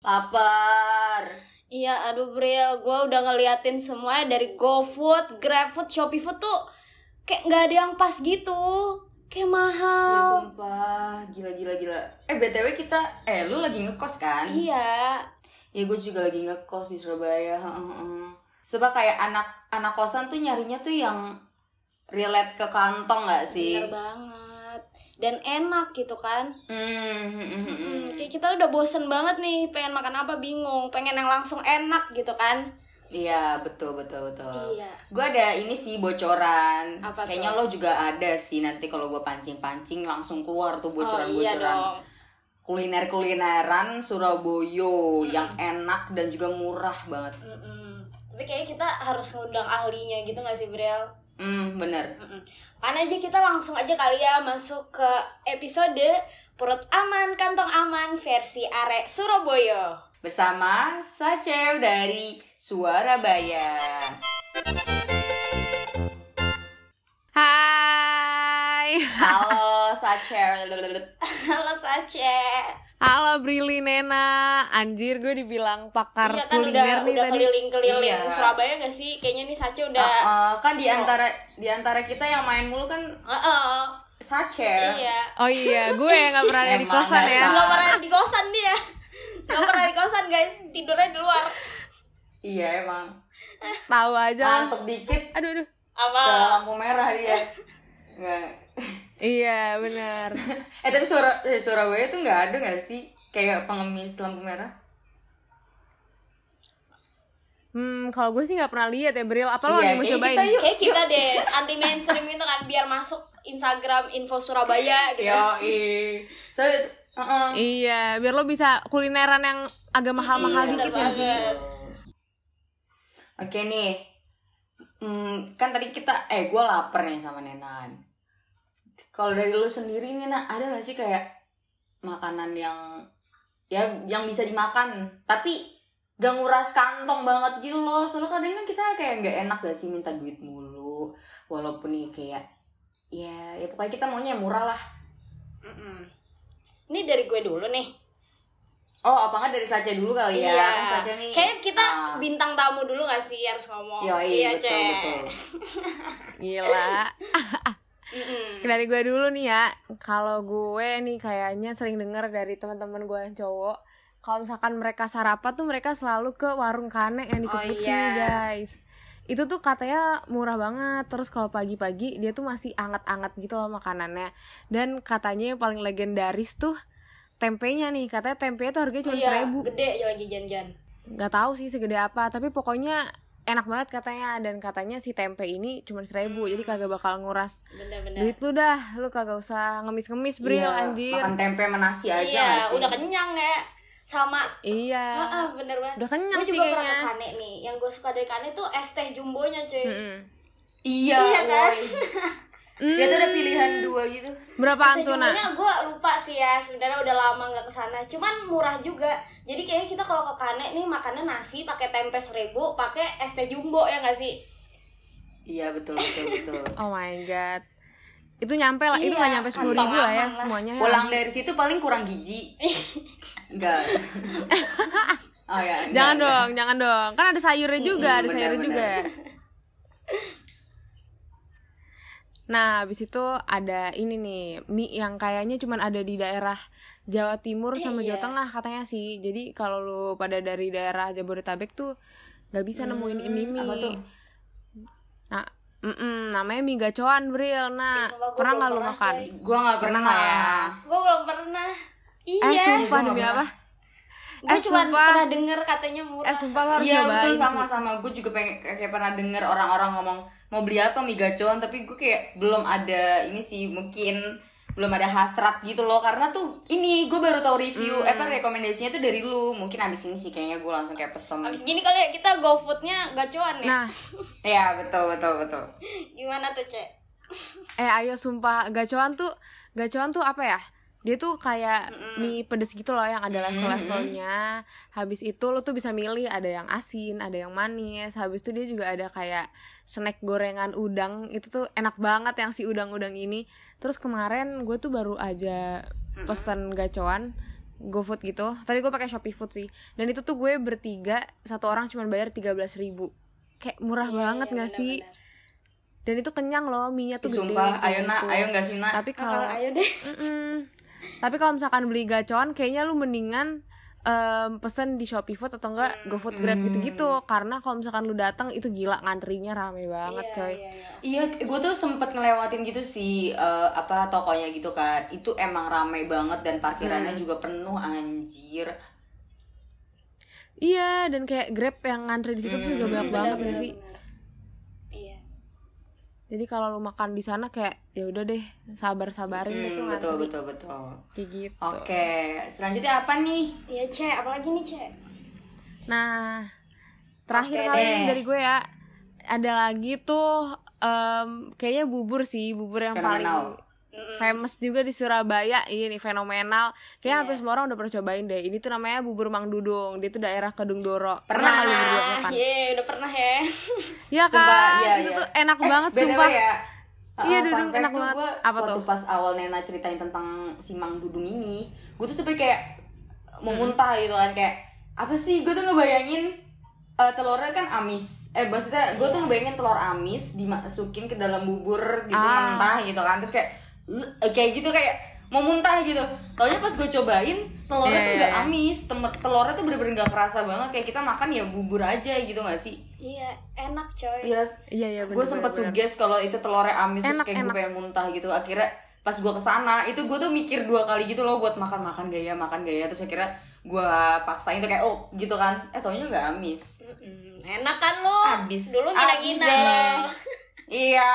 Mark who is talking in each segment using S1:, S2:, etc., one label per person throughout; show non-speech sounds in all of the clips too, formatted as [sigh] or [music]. S1: Lapar.
S2: Iya, aduh Bril, gue udah ngeliatin semuanya dari GoFood, GrabFood, ShopeeFood tuh kayak nggak ada yang pas gitu,
S1: Ya
S2: kayak mahal.
S1: sumpah, gila gila gila. Eh BTW kita eh lu lagi ngekos kan?
S2: Iya,
S1: Ya gue juga lagi ngekos di Surabaya. heeh. Sebab kayak anak-anak kosan tuh nyarinya tuh yang relate ke kantong gak sih?
S2: bener banget. Dan enak gitu kan.
S1: Hmm, hmm, hmm, hmm, hmm.
S2: Hmm, kayak kita udah bosen banget nih, pengen makan apa bingung, pengen yang langsung enak gitu kan.
S1: Iya, betul betul betul.
S2: Iya.
S1: Gue ada ini sih bocoran.
S2: Apa
S1: Kayaknya
S2: tuh?
S1: lo juga ada sih nanti kalau gue pancing-pancing langsung keluar tuh
S2: oh
S1: bocoran-bocoran.
S2: iya dong.
S1: kuliner-kulineran Surabaya
S2: Hmm.
S1: yang enak dan juga murah banget.
S2: Mm-mm. Tapi kayaknya kita harus ngundang ahlinya gitu gak sih, Bril?
S1: Hmm, bener.
S2: Kan aja kita langsung aja kali ya masuk ke episode Perut Aman, Kantong Aman versi Arek Surabaya.
S1: Bersama Sacew dari Suarabaya.
S3: Hai,
S1: Halo Eh, Sacew.
S2: Halo Sace.
S3: halo Brili Nena. Anjir gue dibilang pakar
S2: iya kan
S3: kuliner
S2: udah,
S3: nih
S2: udah
S3: tadi.
S2: keliling-keliling
S1: Iya.
S2: Surabaya gak sih? Kayaknya nih Sace
S1: Uh,
S2: udah
S1: uh, kan di antara di antara kita yang main mulu kan
S2: Heeh.
S1: Sacew.
S2: Iya.
S3: Oh iya, gue yang gak pernah ada di
S1: Emang
S3: kosan ya.
S1: dasar.
S2: Gak pernah di kosan dia. Gak pernah di kosan guys, tidurnya di luar.
S1: Iya emang.
S3: Tahu aja. lah.
S1: Mantep dikit
S3: Aduh, aduh.
S2: Apa?
S1: ke lampu merah dia. Nggak.
S3: Iya, benar.
S1: Eh tapi Sura- eh, Surabaya tuh nggak ada nggak sih kayak pengemis lampu merah?
S3: Hmm, kalau gue sih nggak pernah lihat ya Bril. Apa lo
S1: Iya,
S3: nih mau
S1: kayaknya
S3: cobain?
S1: kita yuk.
S2: Kayak kita deh anti mainstream itu kan biar masuk Instagram info Surabaya gitu.
S1: Iya. Yoi. Soalnya uh-uh.
S3: Iya, biar lo bisa kulineran yang agak mahal-mahal
S1: Iya,
S3: dikit
S2: bener
S3: ya sih.
S2: banget.
S1: Oke nih. Hmm, kan tadi kita eh gue lapar nih sama Nenan. Kalau dari lu sendiri Nena ada gak sih kayak makanan yang ya yang bisa dimakan tapi gak nguras kantong banget gitu loh soalnya kadang kan kita kayak nggak enak gak sih minta duit mulu walaupun nih kayak ya ya pokoknya kita maunya yang murah lah
S2: Mm-mm. Ini dari gue dulu nih.
S1: oh apa nggak dari saja dulu kali ya
S2: Iya.
S1: Kan Saja nih
S2: Kayaknya kita
S1: ah, Iya,
S2: bintang tamu dulu gak sih harus ngomong? Iya,
S1: yoi, betul
S2: Ce.
S1: betul
S3: Gila.
S2: Mm-mm.
S3: Dari gue dulu nih ya, kalau gue nih kayaknya sering denger dari teman-teman gue yang cowok, kalau misalkan mereka sarapan tuh mereka selalu ke warung kane yang di
S2: Oh,
S3: Kebut
S2: iya.
S3: nih, guys. Itu tuh katanya murah banget. Terus kalau pagi-pagi dia tuh masih anget-anget gitu loh makanannya. Dan katanya yang paling legendaris tuh tempenya nih. Katanya tempe tuh
S2: Oh
S3: harganya cuma
S2: iya,
S3: seribu.
S2: gede aja lagi janjian.
S3: Nggak tahu sih segede apa, tapi pokoknya enak banget katanya. Dan katanya si tempe ini cuma seribu,
S2: Hmm.
S3: jadi kagak bakal nguras
S2: Bener-bener.
S3: Duit lu dah, lu kagak usah ngemis-ngemis, Bril,
S1: Iya,
S3: anjir.
S1: Makan tempe sama nasi aja nggak
S2: Iya,
S1: sih?
S2: udah kenyang ya. Sama
S3: Iya.
S2: Ah, ah, bener banget.
S3: Udah kenyang
S2: Gue
S3: sih
S2: juga pernah ke
S3: kayaknya.
S2: Kane nih. Yang gue suka dari Kane tuh es teh jumbonya cuy.
S3: Mm-mm.
S1: Iya,
S2: Iya kan?
S1: woi. Dia tuh ada pilihan dua gitu.
S3: Berapaan tuh, Nak?
S2: Sejumlahnya gue lupa sih ya sebenarnya udah lama nggak kesana cuman murah juga jadi kayaknya kita kalau ke Kane nih makannya nasi pakai tempe seribu pakai es teh jumbo ya nggak sih
S1: Iya betul betul betul.
S3: Oh my god. Itu nyampe lah, itu
S2: Iya,
S3: gak nyampe 10 ribu
S2: kantong
S3: lah ya
S2: aman lah.
S3: semuanya. ya.
S1: Pulang dari situ paling kurang gizi. Enggak. Oh ya. enggak,
S3: Jangan
S1: enggak.
S3: dong, jangan dong. Kan ada sayurnya juga,
S1: Mm-mm,
S3: ada
S1: benar,
S3: sayurnya
S1: benar.
S3: juga. Nah, habis itu ada ini nih, mie yang kayaknya cuman ada di daerah Jawa
S2: Eh,
S3: Timur sama Jawa
S2: iya.
S3: Tengah katanya sih. Jadi kalau lu pada dari daerah Jabodetabek tuh nggak bisa nemuin
S1: Hmm,
S3: ini
S1: apa tuh?
S3: mie. Nah, mm-mm, namanya mie gacoan, Bril.
S2: Ih,
S3: Nah,
S2: sumpah gua
S3: pernah
S2: belum
S3: nggak lu
S2: pernah,
S3: makan? Eh,
S2: coy.
S1: Gua nggak pernah
S3: Pernah
S1: ya.
S2: gue belum pernah
S3: Eh,
S2: iya
S3: sumpah
S1: Gua
S3: demi
S1: nggak
S3: apa?
S2: gue
S3: eh,
S2: cuma
S3: sumpah.
S2: pernah denger katanya murah
S3: Eh, sumpah lu harus
S1: Iya
S3: nyobain
S1: betul
S3: sih.
S1: sama-sama. Gue juga pengen kayak pernah denger orang-orang ngomong mau beli apa mie gacoan tapi gue kayak belum ada ini sih mungkin belum ada hasrat gitu loh karena tuh ini gue baru tahu review
S3: Hmm.
S1: eh, apa rekomendasinya tuh dari lu mungkin abis ini sih kayaknya gue langsung kayak pesen
S2: Abis gini kali ya kita GoFood-nya gacuan ya.
S3: Nah,
S1: ya betul betul betul
S2: Gimana tuh, Cek?
S3: eh ayo sumpah gacoan tuh gacoan tuh apa ya? Dia tuh kayak
S2: Mm-mm.
S3: mie pedes gitu loh yang ada
S1: Mm-mm.
S3: level-levelnya. Habis itu lo tuh bisa milih ada yang asin, ada yang manis. Habis itu dia juga ada kayak snack gorengan udang. Itu tuh enak banget yang si udang-udang ini. Terus kemarin gue tuh baru aja
S2: Mm-mm.
S3: pesen gacoan GoFood gitu. Tapi gue pakai Shopee Food sih. Dan itu tuh gue bertiga, satu orang cuma bayar 13.000 ribu. Kayak murah
S2: Iya,
S3: banget
S2: iya,
S3: nggak sih?
S2: benar-benar.
S3: Dan itu kenyang loh, minyak tuh gede.
S1: sumpah
S3: kayak
S1: ayo nak
S3: gitu.
S1: ayo nggak sih nak
S3: Tapi
S2: Ah, Kalau
S3: kalau
S2: ayo deh.
S3: Mm-mm. Tapi kalau misalkan beli gacoan kayaknya lu mendingan em, pesen di Shopee Food atau enggak GoFood Grab
S1: Hmm.
S3: gitu-gitu karena kalau misalkan lu datang itu gila ngantrinya rame banget
S2: Iya,
S3: coy.
S2: iya, iya.
S1: Iya, gue tuh sempet ngelewatin gitu sih eh, apa tokonya gitu kan. Itu emang ramai banget dan parkirannya
S3: Hmm.
S1: juga penuh anjir.
S3: Iya, dan kayak Grab yang ngantri di situ tuh juga
S1: Hmm,
S3: banyak banget gak
S2: Benar-benar,
S3: sih?
S2: benar. Iya.
S3: Jadi kalau lu makan di sana kayak ya udah deh, sabar-sabarin
S1: Hmm,
S3: itu ngantri
S1: betul betul betul.
S3: kayak gitu.
S1: Oke, selanjutnya apa nih?
S2: Iya, Cek, apalagi nih, Cek?
S3: Nah, terakhir
S2: Oke
S3: kali
S1: deh.
S3: ini dari gue ya, ada lagi tuh em, kayaknya bubur sih, bubur yang
S1: Fenomenal.
S3: paling famous juga di Surabaya ini fenomenal. Kayaknya
S1: Iya.
S3: hampir semua orang udah pernah cobain deh. Ini tuh namanya bubur Mang Dudung. Dia tuh daerah Kedung Doro.
S1: Pernah.
S3: kali berdua
S2: Ah,
S3: makan?
S2: ye, udah pernah ya. [laughs]
S3: Iya kan?
S1: Sumpah, iya,
S3: itu
S1: iya.
S3: tuh enak banget
S1: BTW
S3: sumpah.
S1: ya.
S3: Iya,
S1: uh, fun
S3: Dudung,
S1: fact
S3: enak
S1: tuh
S3: banget.
S1: gua
S3: Apa
S1: waktu
S3: tuh?
S1: pas awal Nena ceritain tentang si Mang Dudung ini, gue tuh sampai kayak mau
S3: Hmm.
S1: muntah gitu kan kayak apa sih? Gue tuh ngebayangin eh, telurnya kan amis. Eh maksudnya gue tuh ngebayangin telur amis dimasukin ke dalam bubur gitu
S3: Ah.
S1: mentah gitu kan. Terus kayak "Ugh," kayak gitu kayak mau muntah gitu. Taunya pas gue cobain telurnya
S3: Iya,
S1: tuh
S3: iya,
S1: gak
S3: iya.
S1: amis, Temer- telurnya tuh bener-bener gak kerasa banget kayak kita makan ya bubur aja gitu gak sih?
S2: Iya, enak, coy.
S1: Iya,
S3: Iya iya benar.
S1: gue sempat suges kalau itu telurnya amis
S3: Enak,
S1: terus kayak gue
S3: enak.
S1: pengen muntah gitu akhirnya pas gue kesana itu gue tuh mikir dua kali gitu loh buat makan makan gaya makan gaya terus akhirnya gue paksain tuh kayak oh gitu kan eh taunya nggak amis
S2: Mm-mm, Enak kan lo?
S1: Abis.
S2: Dulu
S1: Abis
S2: ngina-ngina
S1: deh.
S2: lo.
S1: iya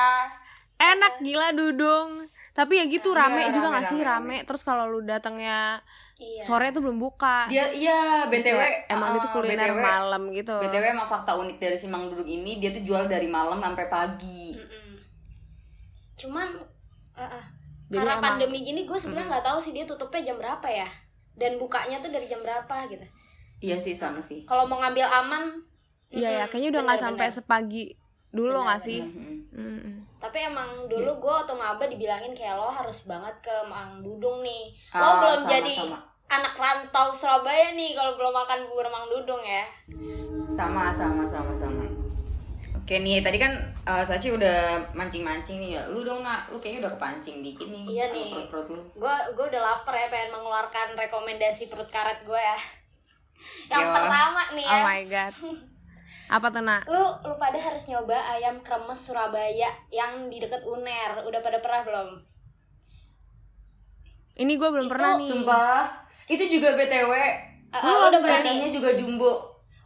S3: Enak gila Dudung. Tapi ya gitu rame
S1: Iya,
S3: juga
S1: rame,
S3: nggak sih
S1: rame,
S3: rame. Terus kalau lu datangnya
S2: Iya.
S3: sore tuh belum buka.
S1: dia iya btw
S3: Kayak emang itu
S1: eh,
S3: kuliner
S1: BTW
S3: malam gitu.
S1: btw emang fakta unik dari si mang duduk ini dia tuh jual dari malam sampai pagi
S2: Mm-mm. Cuman ah, ah.
S3: Jadi
S2: karena
S3: emang-
S2: pandemi gini gue sebenarnya nggak tahu sih dia tutupnya jam berapa ya dan bukanya tuh dari jam berapa gitu.
S1: iya sih sama sih
S2: Kalau mau ngambil aman
S3: Iya ya,
S2: mm-mm,
S3: kayaknya udah nggak sampai
S2: benar-benar.
S3: sepagi dulu nggak sih?
S1: Mhm.
S3: Mm-mm.
S2: Tapi
S3: Iya.
S2: emang dulu gue waktu maba dibilangin kayak lo harus banget ke Mang Dudung nih. Lo
S1: Ah,
S2: belum
S1: sama,
S2: jadi
S1: sama.
S2: anak rantau Surabaya nih kalau belum makan bubur Mang Dudung ya.
S1: sama sama sama sama oke nih tadi kan eh, Sachi udah mancing mancing nih ya lu dong nak lu kayaknya udah kepancing dikit nih
S2: Iya nih.
S1: perut perut lu
S2: Gue gue udah lapar ya pengen mengeluarkan rekomendasi perut karet gue ya. Yang
S1: Yo.
S2: pertama nih
S1: Iya.
S2: ya.
S3: Oh my god. Apa tuh nak?
S2: Lu lu pada harus nyoba ayam kremes Surabaya yang di deket UNER. Udah pada pernah belum?
S3: Ini gue belum
S2: Itu
S3: pernah nih.
S1: sumpah itu juga btw
S2: Ah, ah, lu udah pernah nih?
S1: badannya juga jumbo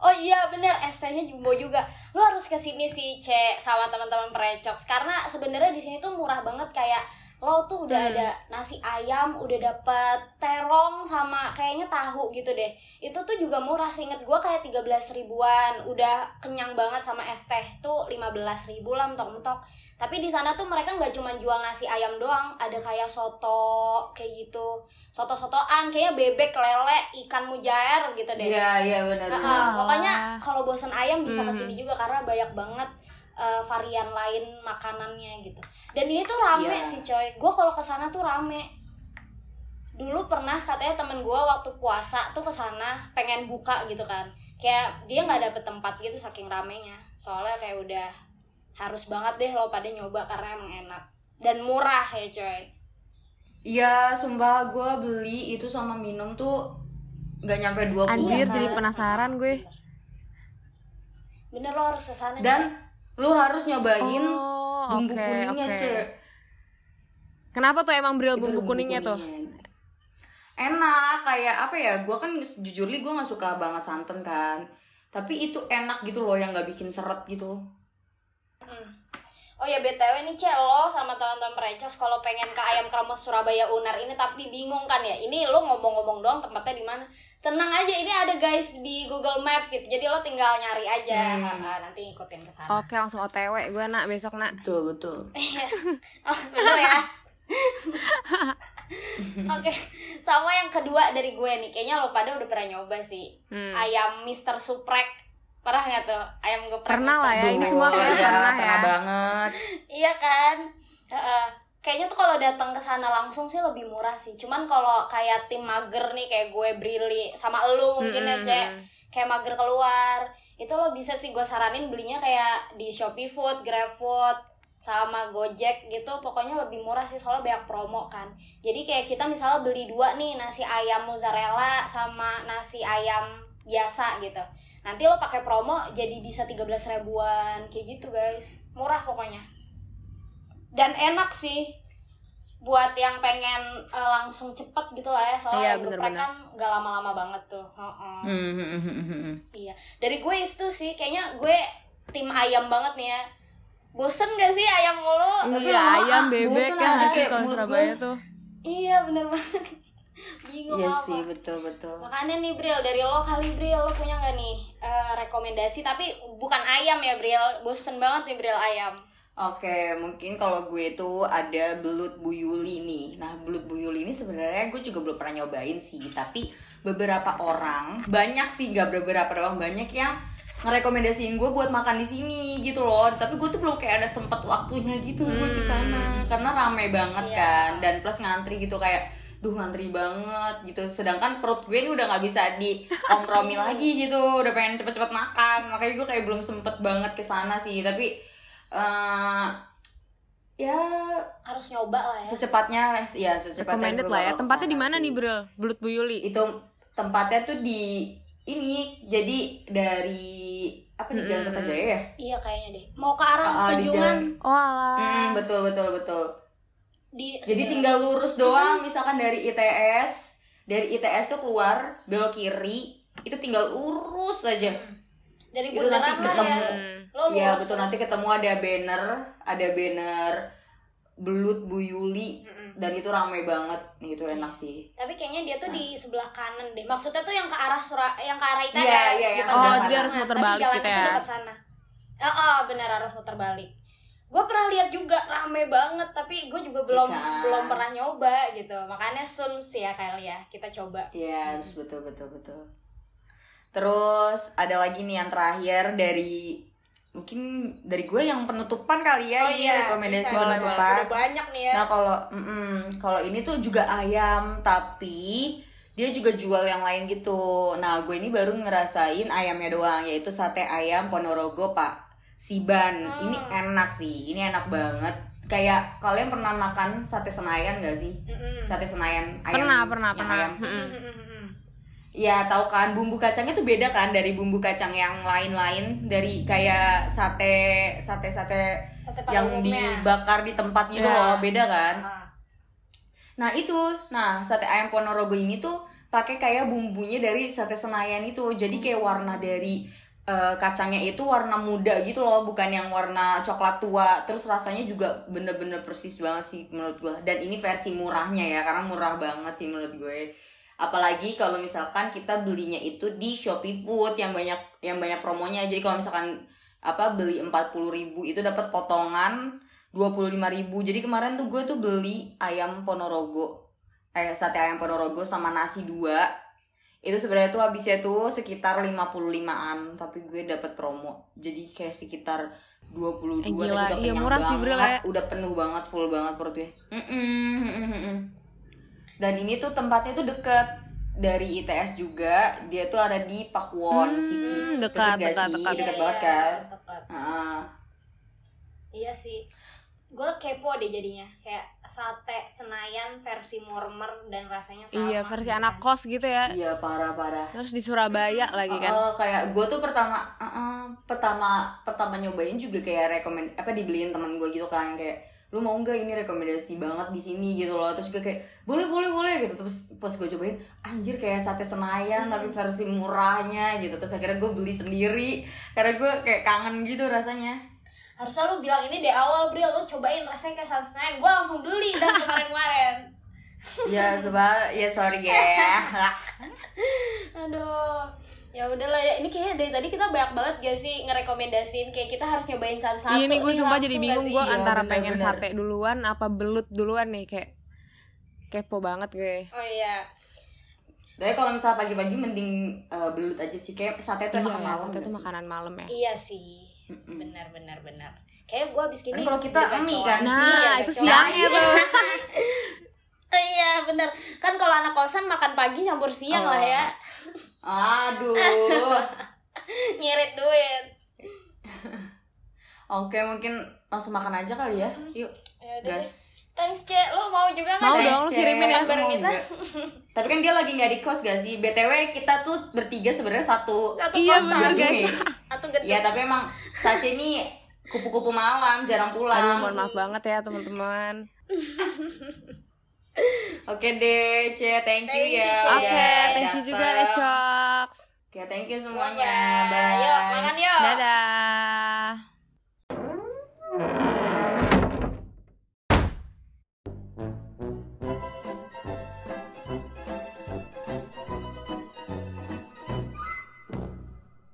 S2: Oh iya bener, esainya jumbo juga. Lu harus ke sini sih, C, sama teman-teman Precox karena sebenarnya di sini tuh murah banget kayak lo tuh udah ada nasi ayam, udah dapet terong sama kayaknya tahu gitu deh. Itu tuh juga murah, seinget gua kayak 13 ribuan. Udah kenyang banget sama es teh tuh 15 ribu lah mentok-mentok. Tapi di sana tuh mereka nggak cuma jual nasi ayam doang, ada kayak soto kayak gitu. Soto-sotoan, kayaknya bebek, lele, ikan mujair gitu deh.
S1: iya iya benar
S2: Heeh,
S1: benar
S2: pokoknya
S3: Alah.
S2: kalau bosan ayam bisa
S3: Mhm.
S2: kesini juga karena banyak banget eh, varian lain makanannya gitu. Dan ini tuh rame
S1: Iya.
S2: sih coy. Gue kalau kesana tuh rame. Dulu pernah katanya temen gue waktu puasa tuh kesana pengen buka gitu kan. Kayak dia nggak dapet tempat gitu saking ramenya. Soalnya kayak udah harus banget deh lo pada nyoba karena emang enak dan murah ya coy.
S1: iya sumpah gue beli itu sama minum tuh nggak nyampe dua
S2: Iya,
S3: Anjir, jadi
S2: Mak.
S3: penasaran gue.
S2: Bener lo harus kesana. coy.
S1: dan lu harus nyobain
S3: Oh,
S1: bumbu
S3: oke,
S1: kuningnya
S3: oke.
S1: cek
S3: Kenapa tuh emang bril
S1: Itu
S3: bumbu kuningnya tuh?
S1: kuningnya. enak kayak apa ya gue kan jujur li gue nggak suka banget santan kan tapi itu enak gitu loh yang nggak bikin seret gitu
S2: Mm. Oh ya BTW nih Cek lo sama teman-teman Precos kalau pengen ke Ayam Kremes Surabaya Unar ini tapi bingung kan ya. Ini lo ngomong-ngomong doang tempatnya di mana. Tenang aja ini ada guys di Google Maps gitu. Jadi lo tinggal nyari aja.
S1: Hmm.
S2: Ah, nanti ngikutin ke sana.
S3: Oke langsung OTW gue nak besok nak
S1: betul betul
S2: Oh, bener ya. [laughs] Oke, sama yang kedua dari gue nih. Kayaknya lo pada udah pernah nyoba sih.
S3: Hmm.
S2: Ayam Mister Suprek. Pernah nggak tuh ayam geprek Mr.
S3: Pernah lah
S1: Eh,
S3: ya, ini
S2: Suprek?
S3: semua
S1: kayak
S3: kayaknya pernah ya.
S1: iya, banget
S2: Iya kan? Heeh. Kayaknya tuh kalau datang ke sana langsung sih lebih murah sih. Cuman kalau kayak tim mager nih kayak gue Brili sama elu mungkin ya,
S3: Mm-mm.
S2: Cek. Kayak mager keluar. Itu lo bisa sih gue saranin belinya kayak di Shopee Food, GrabFood sama Gojek gitu pokoknya lebih murah sih soalnya banyak promo kan jadi kayak kita misalnya beli dua nih nasi ayam mozzarella sama nasi ayam biasa gitu nanti lo pakai promo jadi bisa 13 ribuan kayak gitu guys murah pokoknya dan enak sih buat yang pengen eh, langsung cepet gitu lah ya
S3: Iya,
S2: soalnya yang geprek
S3: bener-bener.
S2: kan gak lama-lama banget tuh Heeh.
S1: Hmm.
S2: iya dari gue itu sih kayaknya gue tim ayam banget nih ya bosen gak sih ayam mulu
S1: Tapi
S3: Iya
S1: lama-lama,
S3: ayam
S1: ah,
S3: bebek
S1: bosen
S3: ya
S1: aja
S3: nggak sih
S1: kayak
S3: kalau
S1: mulut
S3: Surabaya
S1: gue.
S3: tuh
S2: iya bener banget [laughs] bingung
S1: iya
S2: apa
S1: sih betul betul
S2: Makanya nih Bril, dari lo kali Bril, lo punya nggak nih eh, rekomendasi? Tapi bukan ayam ya Bril, bosen banget nih Bril ayam
S1: Oke, mungkin kalau gue tuh ada belut buyuli nih. Nah, belut buyuli ini sebenarnya gue juga belum pernah nyobain sih, tapi beberapa orang, banyak sih nggak beberapa doang, banyak yang ngerekomendasiin gue buat makan di sini gitu loh. Tapi gue tuh belum kayak ada sempat waktunya gitu buat di sana karena rame banget
S2: Iya.
S1: kan dan plus ngantri gitu kayak duh ngantri banget gitu sedangkan perut gue ini udah nggak bisa diomromi lagi gitu udah pengen cepet-cepet makan makanya gue kayak belum sempet banget ke sana sih tapi eh ya
S2: Harus nyoba lah ya
S1: secepatnya ya secepatnya
S3: Eh. recommended
S1: gue
S3: lah ya
S1: bakal
S3: tempatnya di
S1: kesana
S3: mana
S1: sih.
S3: nih Bril Belut Bu Yuli
S1: itu tempatnya tuh di ini jadi dari apa di Jalan
S3: Mm-mm.
S1: Kertajaya ya
S2: Iya kayaknya deh Mau ke arah
S1: Ah, ah, di
S2: tujuan
S1: jalan-
S3: oh alah
S1: Hmm, betul betul betul
S2: di,
S3: Iya.
S1: Jadi tinggal lurus doang, misalkan dari ITS, dari ITS tuh keluar belok kiri, itu tinggal lurus aja. itu
S2: Dari bundaran
S1: nanti
S2: lah ya
S1: ketemu.
S3: Hmm.
S2: Lo lurus
S1: Iya betul nanti ketemu ada banner, ada banner belut Bu Yuli dan itu ramai banget, Nih, itu enak sih.
S2: Tapi kayaknya dia tuh di sebelah kanan deh Maksudnya tuh yang ke arah sura yang ke arah ITS
S1: Iya, iya, yang
S2: bukan
S1: ke arah
S2: jalan
S1: Oh, jadi
S2: tengah.
S3: harus muter
S2: Tapi
S3: balik
S2: jalannya
S3: gitu
S2: tuh
S3: ya.
S2: dekat sana Ah, ah, benar harus muter balik Gue pernah lihat juga rame banget Tapi gue juga belum
S1: Ikan.
S2: belum pernah nyoba gitu Makanya soon sih ya kali ya Kita coba
S1: Iya harus betul betul betul. Terus ada lagi nih yang terakhir dari mungkin dari gue yang penutupan kali ya ini rekomendasi
S2: Oh iya, bisa.
S1: penutupan.
S2: Udah banyak nih ya
S1: Nah kalau mm-mm, kalau ini tuh juga ayam tapi dia juga jual yang lain gitu. Nah gue ini baru ngerasain ayamnya doang yaitu sate ayam Ponorogo Pak Siban.
S2: Hmm.
S1: Ini enak sih, ini enak banget. Kayak kalian pernah makan sate Senayan gak sih?
S2: Mm-mm.
S1: Sate Senayan ayam.
S3: pernah pernah
S1: yang
S3: pernah
S1: ayam.
S3: Mm-mm.
S2: Mm-mm.
S1: Ya tahu kan bumbu kacangnya tuh beda kan dari bumbu kacang yang lain-lain dari kayak sate sate sate
S2: Sate pada
S1: yang
S2: umumnya.
S1: dibakar di tempat gitu
S3: Ya.
S1: loh beda kan
S2: Ah.
S1: Nah itu, nah sate ayam Ponorogo ini tuh pakai kayak bumbunya dari sate Senayan itu. Jadi kayak warna dari eh, kacangnya itu warna muda gitu loh, bukan yang warna coklat tua. Terus rasanya juga bener-bener persis banget sih menurut gue. Dan ini versi murahnya ya, karena murah banget sih menurut gue. Apalagi kalau misalkan kita belinya itu di Shopee Food yang banyak yang banyak promonya. Jadi kalau misalkan apa beli 40.000 itu dapat potongan 25.000. Jadi kemarin tuh gue tuh beli ayam Ponorogo. Eh sate ayam Ponorogo sama nasi dua. Itu sebenarnya tuh habisnya tuh sekitar 55-an, tapi gue dapat promo. Jadi kayak sekitar 22 tapi
S3: Eh, gila.
S1: udah
S3: Iya,
S1: kenyang
S3: murah sih, Bril,
S1: banget,
S3: ya.
S1: udah penuh banget, full banget perut gue. Mm-mm, mm-mm, mm-mm. [laughs] Dan ini tuh tempatnya tuh deket dari ITS juga. Dia tuh ada di Pakuwon
S3: Hmm,
S1: City. Deket
S3: dekat, dekat,
S1: gak sih?
S3: dekat.
S1: Deket
S2: Iya,
S1: banget
S2: iya,
S1: kan?
S2: dekat.
S1: Heeh.
S2: Iya sih. Gue kepo deh jadinya. Kayak sate Senayan versi mormer dan rasanya sama.
S3: iya versi
S2: gitu
S3: anak
S2: kan.
S3: kos gitu ya
S1: Iya, parah-parah.
S3: terus di Surabaya lagi kan
S1: Oh, kayak gue tuh pertama eh, eh, pertama pertama nyobain juga kayak rekomend apa dibeliin teman gue gitu kan kayak lu mau nggak ini rekomendasi banget di sini gitu loh terus gue kayak boleh boleh boleh gitu terus pas gue cobain anjir kayak sate senayan
S3: Hmm.
S1: tapi versi murahnya gitu terus akhirnya gue beli sendiri karena gue kayak kangen gitu rasanya
S2: harusnya lu bilang ini dari awal Bril lu cobain rasanya kayak saus Senayan gue langsung beli [laughs] dan kemarin-kemarin
S1: ya sebab ya sorry ya
S2: aduh ya udahlah ya ini kayaknya dari tadi kita banyak banget gak sih ngerekomendasiin kayak kita harus nyobain satu-satu
S3: Iya nih gue
S2: nih
S3: sumpah jadi
S2: langsung gak
S3: bingung
S2: sih?
S3: gue
S1: Iya,
S3: antara
S1: benar,
S3: pengen
S1: benar.
S3: sate duluan apa belut duluan nih kayak kepo banget gue.
S2: oh iya
S1: Tapi kalau misalnya pagi-pagi mending eh, belut aja sih kayak sate itu
S3: Iya,
S1: emang malam. nggak
S3: sate itu
S1: sih?
S3: makanan malam ya.
S2: iya sih
S1: Mm-mm.
S2: benar benar benar kayak gue abis
S1: Tapi
S2: gini
S1: kalau kita
S2: beli
S1: mie
S2: kacauan.
S1: kan?
S3: Nah,
S2: Iya,
S3: itu
S2: kacauan.
S3: siangnya tuh.
S2: iya benar kan kalau anak kosan makan pagi campur siang lah ya
S3: Oh.
S1: Aduh.
S2: [laughs]
S3: [laughs]
S2: ngirit duit
S1: Oke mungkin langsung makan aja kali ya.
S3: Hmm.
S1: Yuk
S2: ya udah deh.
S1: gas.
S2: thanks cek lo mau juga nggak
S3: Mau
S2: Cek?
S3: dong, lu
S1: Cek.
S3: kirimin ya.
S2: Bareng
S1: Mau
S2: kita.
S1: nggak? Tapi kan dia lagi nggak di kos gak sih? BTW kita tuh bertiga sebenarnya satu.
S2: satu
S3: Iya,
S2: kosan
S3: benar, guys.
S1: nih.
S2: atau gede
S1: Iya tapi emang Sasha ini kupu-kupu malam jarang
S3: Aduh,
S1: pulang.
S3: mohon maaf banget ya teman-teman.
S1: Oke deh, Ce, thank you
S2: Thank you,
S1: ya.
S2: Ce.
S3: Oke,
S1: udah
S3: thank you juga eh,
S1: datang.
S3: Recox.
S1: Oke, thank you
S2: semuanya
S1: semuanya. Bye.
S2: yuk makan yuk
S3: Dadah.